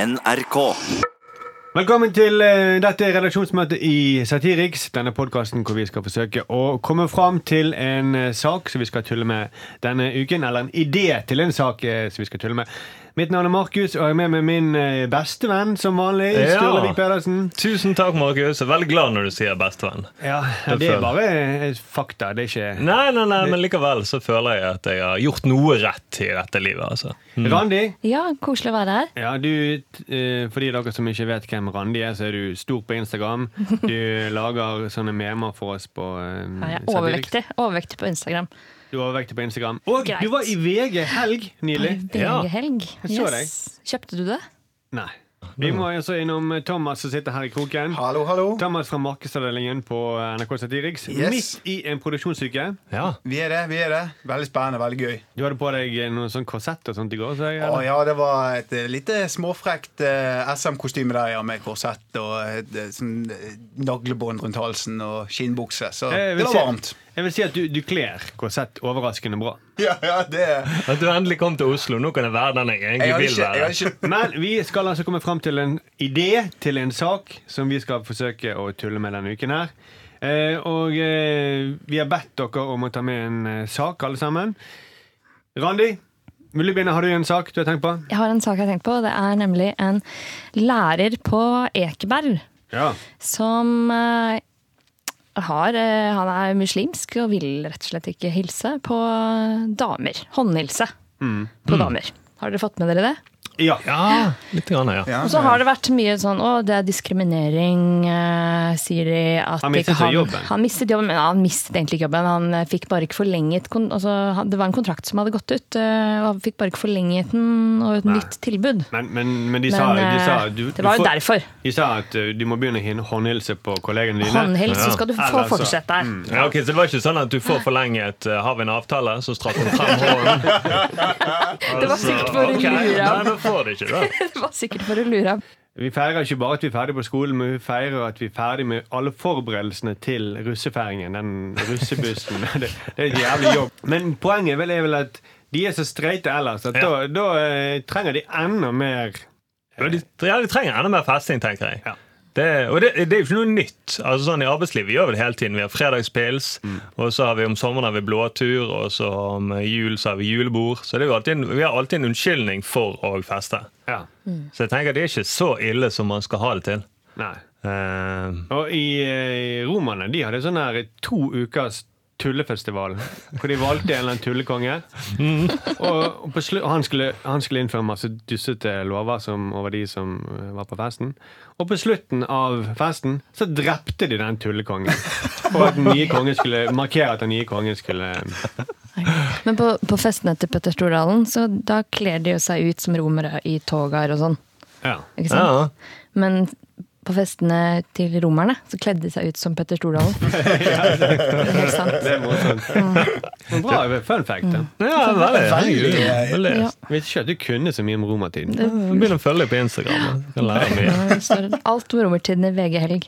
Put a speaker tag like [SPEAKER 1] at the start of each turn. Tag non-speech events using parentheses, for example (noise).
[SPEAKER 1] NRK.
[SPEAKER 2] Velkommen til eh, dette redaksjonsmøtet i Satiriks, denne podkasten hvor vi skal forsøke å komme fram til en eh, sak som vi skal tulle med denne uken, eller en idé til en sak eh, som vi skal tulle med. Mitt navn er Markus, og jeg er med med min eh, bestevenn som vanlig.
[SPEAKER 3] Ja.
[SPEAKER 2] Sturlevik Pedersen.
[SPEAKER 3] Tusen takk, Markus. Jeg er Veldig glad når du sier bestevenn.
[SPEAKER 2] Ja,
[SPEAKER 3] Det
[SPEAKER 2] Det er
[SPEAKER 3] føler-
[SPEAKER 2] bare eh, fakta. Det er ikke
[SPEAKER 3] Nei, nei, nei, men likevel så føler jeg at jeg har gjort noe rett i dette livet. altså.
[SPEAKER 2] Randi?
[SPEAKER 4] Ja, koselig å være her.
[SPEAKER 2] Ja, du, eh, For de av dere som ikke vet hvem Randi er, så er du stor på Instagram. Du lager sånne memer for oss på eh,
[SPEAKER 4] Jeg er
[SPEAKER 2] Satiriks.
[SPEAKER 4] overvektig, overvektig på Instagram.
[SPEAKER 2] Du var vektig på Instagram. Og
[SPEAKER 4] Greit.
[SPEAKER 2] du var i VG helg nylig.
[SPEAKER 3] Ja.
[SPEAKER 4] VG-helg.
[SPEAKER 2] Jeg så
[SPEAKER 4] Yes. Kjøpte du det?
[SPEAKER 2] Nei. Vi må altså innom Thomas som sitter her i kroken.
[SPEAKER 5] Hallo, hallo.
[SPEAKER 2] Thomas fra markedsavdelingen på eh, NRK Satiriks.
[SPEAKER 5] Yes.
[SPEAKER 2] Midt i en produksjonsuke.
[SPEAKER 3] Ja.
[SPEAKER 5] Vi er det, vi er det. Veldig spennende, veldig gøy.
[SPEAKER 2] Du hadde på deg noe sånn korsett og sånt i går. Så jeg,
[SPEAKER 5] Å ja, det var et eh, lite småfrekt eh, SM-kostyme der, ja, med korsett og eh, sånn eh, naglebånd rundt halsen og skinnbukse. Så
[SPEAKER 2] Eh, Jeg vil
[SPEAKER 5] det var
[SPEAKER 2] si-
[SPEAKER 5] varmt.
[SPEAKER 2] Jeg vil si at du, du kler korsett overraskende bra.
[SPEAKER 5] Ja, ja, det
[SPEAKER 3] At du endelig kom til Oslo. Nå kan jeg være den jeg egentlig
[SPEAKER 5] Jeg hadde
[SPEAKER 3] vil
[SPEAKER 5] ikke, jeg
[SPEAKER 3] være.
[SPEAKER 5] hadde ikke
[SPEAKER 2] Men vi skal altså komme fram til en idé til en sak som vi skal forsøke å tulle med denne uken her. Eh, og eh, vi har bedt dere om å ta med en eh, sak, alle sammen. Randi, vil du begynne? har du en sak du har tenkt på?
[SPEAKER 4] Jeg har en sak jeg har tenkt på. Det er nemlig en lærer på Ekeberg
[SPEAKER 2] Ja.
[SPEAKER 4] som eh, har eh, Han er muslimsk og vil rett og slett ikke hilse på damer. Håndhilse
[SPEAKER 2] Mm.
[SPEAKER 4] på damer. Har dere fått med dere det?
[SPEAKER 2] ja.
[SPEAKER 3] Ja, litt grann, ja.
[SPEAKER 5] ja,
[SPEAKER 4] Og så har det vært mye sånn å, det er diskriminering, eh, sier de. At
[SPEAKER 2] Han mistet
[SPEAKER 4] ikke han,
[SPEAKER 2] jobben.
[SPEAKER 4] Han mistet jobben, men han mistet egentlig ikke jobben. Han eh, fikk bare ikke forlenget kon altså, han, Det var en kontrakt som hadde gått ut, eh, og han fikk bare ikke forlenget den og et
[SPEAKER 2] Nei.
[SPEAKER 4] nytt tilbud.
[SPEAKER 2] Men, men, men de
[SPEAKER 4] Men
[SPEAKER 2] sa, de sa
[SPEAKER 4] eh,
[SPEAKER 2] du,
[SPEAKER 4] det var
[SPEAKER 2] du
[SPEAKER 4] jo
[SPEAKER 2] får-
[SPEAKER 4] derfor.
[SPEAKER 2] De sa at eh, du må begynne å hin- håndhilse på kollegene dine.
[SPEAKER 4] Håndhils,
[SPEAKER 3] Ja.
[SPEAKER 4] så skal du få
[SPEAKER 2] Eller så-
[SPEAKER 4] fortsette der.
[SPEAKER 2] mm,
[SPEAKER 3] Ja, ok, Så det var ikke sånn at du får forlenget eh, Har vi en avtale, så strakk hun frem hånden?
[SPEAKER 4] Det var
[SPEAKER 3] Altså,
[SPEAKER 4] sikkert for å
[SPEAKER 3] ok.
[SPEAKER 4] lure
[SPEAKER 3] Nei,
[SPEAKER 4] ham. (laughs)
[SPEAKER 3] da får du ikke det.
[SPEAKER 4] Det var sikkert for å lure ham.
[SPEAKER 2] Vi feirer ikke bare at vi er ferdig på skolen, men vi feirer at vi er ferdig med alle forberedelsene til russefeiringen. Den russebussen. (laughs) det, det er et jævlig jobb. Men poenget vel er vel at de er så streite ellers at
[SPEAKER 3] Ja.
[SPEAKER 2] da, da eh, trenger de enda mer
[SPEAKER 3] Ja, de, ja, de trenger enda mer festing, tenker jeg.
[SPEAKER 2] Ja.
[SPEAKER 3] Det, og det, det er jo ikke noe nytt. Altså sånn I arbeidslivet gjør vi det hele tiden. Vi har fredagspils, og så har vi om sommeren har vi blåtur, og så om jul så har vi julebord. Så det er jo alltid, en- vi har alltid en unnskyldning for å feste.
[SPEAKER 2] ja.
[SPEAKER 3] Så jeg tenker det er ikke så ille som man skal ha det til.
[SPEAKER 2] Nei.
[SPEAKER 3] Eh,
[SPEAKER 2] Og i, eh, romerne de hadde sånn her to ukers tullefestival. Hvor de valgte en eller annen tullekonge. Og, og på slu, og han, skulle, han skulle innføre masse dussete lover som, over de som eh, var på festen. Og på slutten av festen så drepte de den tullekongen. For at den nye kongen skulle markere at den nye kongen skulle
[SPEAKER 4] Men på, på festene til Petter Stordalen, så da kler de jo seg ut som romere i togaer og sånn.
[SPEAKER 2] Ja.
[SPEAKER 4] Ikke sant?
[SPEAKER 3] ja.
[SPEAKER 4] Men på festene til romerne så kledde de seg ut som Petter (laughs) Stordalen. Det er helt sant.
[SPEAKER 2] Det er morsomt. Men Mm. Bra fun fact. da.
[SPEAKER 3] ja, veldig. Herregud. Veldig.
[SPEAKER 4] Ja.
[SPEAKER 2] Jeg visste ikke at du kunne så mye om romertiden.
[SPEAKER 3] Begynn å følge deg på Instagram. Du kan lære mye.
[SPEAKER 4] Alt om romertiden i VG-helg.